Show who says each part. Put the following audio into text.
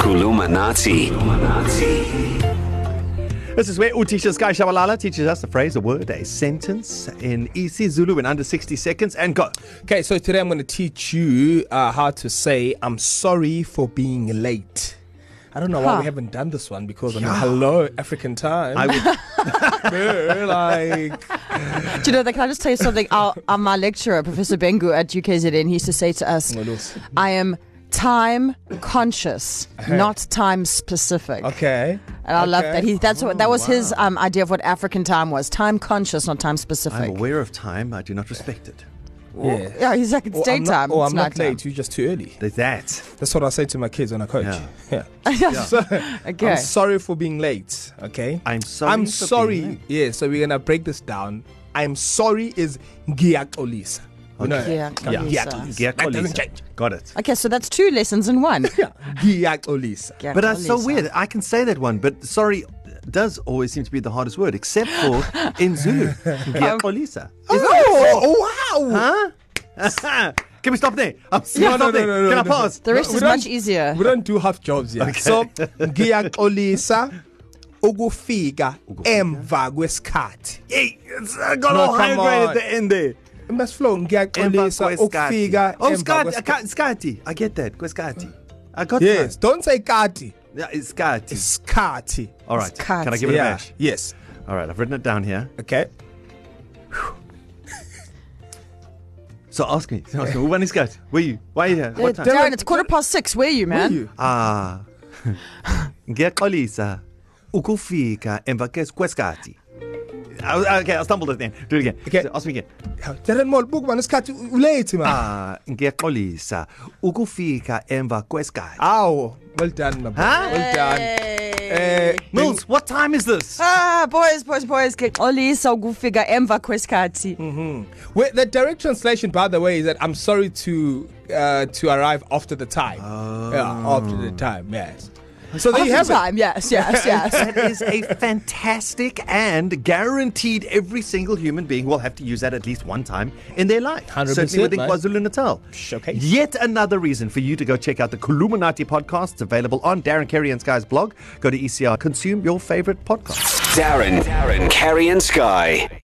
Speaker 1: Kulumanati.
Speaker 2: This is where Utisha Sky Shabalala teaches us a phrase, a word, a sentence in isiZulu in under 60 seconds and go.
Speaker 3: Okay, so today I'm going to teach you uh, how to say I'm sorry for being late. I don't know why
Speaker 4: Huh.
Speaker 3: we haven't done this one because I mean, hello African time.
Speaker 2: I would,
Speaker 3: We're like
Speaker 4: Do you know that? Can I just tell you something? Our, our, my lecturer, Professor Bengu at UKZN, he used to say to us,
Speaker 3: What else?
Speaker 4: I am time conscious, not time specific.
Speaker 3: okay.
Speaker 4: And I love
Speaker 3: okay.
Speaker 4: that. He, that's what, that was his um, idea of what African time was time conscious, not time
Speaker 2: I'm
Speaker 4: specific.
Speaker 2: aware of time, I do not respect it.
Speaker 3: Yeah.
Speaker 4: Yeah, he's like, it's
Speaker 3: Or Oh, I'm
Speaker 4: daytime.
Speaker 3: Not, or
Speaker 4: it's
Speaker 3: I'm not
Speaker 4: nighttime.
Speaker 3: late. You're just too early.
Speaker 2: There's that.
Speaker 3: That's what I say to my kids when I coach.
Speaker 2: Yeah.
Speaker 3: Yeah.
Speaker 4: Okay.
Speaker 3: I'm sorry for being late. Okay.
Speaker 2: I'm sorry
Speaker 3: I'm
Speaker 2: for
Speaker 3: sorry.
Speaker 2: being late.
Speaker 3: Yeah. So we're gonna break this down. I'm sorry is giakolisa. You know
Speaker 4: Okay.
Speaker 3: that?
Speaker 4: Giakolisa.
Speaker 3: That
Speaker 2: Giacolisa.
Speaker 3: doesn't change.
Speaker 2: Got it.
Speaker 4: okay, so that's two lessons in one.
Speaker 3: Giakolisa.
Speaker 4: Yeah,
Speaker 2: But that's so
Speaker 4: Lisa.
Speaker 2: weird. I can say that one, but sorry does always seem to be the hardest word, except for in Zulu.
Speaker 3: Um,
Speaker 2: Giacolisa.
Speaker 3: Oh, oh wow.
Speaker 2: Huh? Can we stop there? I'm yeah,
Speaker 3: No, no, no, no,
Speaker 2: Can I
Speaker 3: no.
Speaker 2: pause?
Speaker 4: The rest
Speaker 3: we
Speaker 4: is
Speaker 3: don't-
Speaker 4: much easier.
Speaker 3: We don't do half jobs yet. Okay. So ngiyaxolisa ukufika emva kwesikhathi.
Speaker 2: Hey, it's, I got
Speaker 3: No,
Speaker 2: all
Speaker 3: come
Speaker 2: hydrated at
Speaker 3: on.
Speaker 2: the end there.
Speaker 3: It must flow ngiyaxolisa ukufika
Speaker 2: Oh,
Speaker 3: emva
Speaker 2: Skati. I
Speaker 3: kwesikhathi.
Speaker 2: can't- Skati. I get that. Kweskati. I got
Speaker 3: Yes,
Speaker 2: that.
Speaker 3: don't say kati.
Speaker 2: Yeah, it's Skati.
Speaker 3: Isikhathi.
Speaker 2: All right.
Speaker 4: Skati.
Speaker 2: Can I give it a
Speaker 3: Yeah.
Speaker 2: bash?
Speaker 3: Yes.
Speaker 2: All right. I've written it down here.
Speaker 3: Okay.
Speaker 2: So ask me. So ask me. When is Skati? Where you? Why are you here? What
Speaker 4: Uh,
Speaker 2: time?
Speaker 4: Darren, it's quarter past six. Where are you, man?
Speaker 3: Who you?
Speaker 2: Ah. Ngiyaxolisa ukufika emva kes- kweskati. I- Okay, I stumbled at the end. Do it again.
Speaker 3: Okay.
Speaker 2: So ask me again.
Speaker 3: Darren Mall book man isikhathi u- late man.
Speaker 2: Ah, ngiyaxolisa ukufika emva kweskati.
Speaker 3: Aw, well done my boy.
Speaker 2: Huh?
Speaker 3: Well done.
Speaker 4: Hey.
Speaker 3: Eh,
Speaker 2: Mills, what time is this?
Speaker 4: Ah, boys, boys, boys. Olisa ukufika emva kwesikhathi.
Speaker 3: Wait, the direct translation, by the way, is that I'm sorry to uh, to arrive after the time. Yeah, after the time, yes. So there
Speaker 4: Half
Speaker 3: you
Speaker 4: the
Speaker 3: have it.
Speaker 4: time, yes, yes, yes.
Speaker 2: that is a fantastic and guaranteed every single human being will have to use that at least one time in their life.
Speaker 3: 100%,
Speaker 2: Certainly within
Speaker 3: mate.
Speaker 2: KwaZulu Natal.
Speaker 3: Showcase.
Speaker 2: Yet another reason for you to go check out the Kuluminati podcast. It's available on Darren Kerry and Sky's E blog. Go to ECR, consume your favorite podcast.
Speaker 1: Darren, Darren, Carrie and Sky.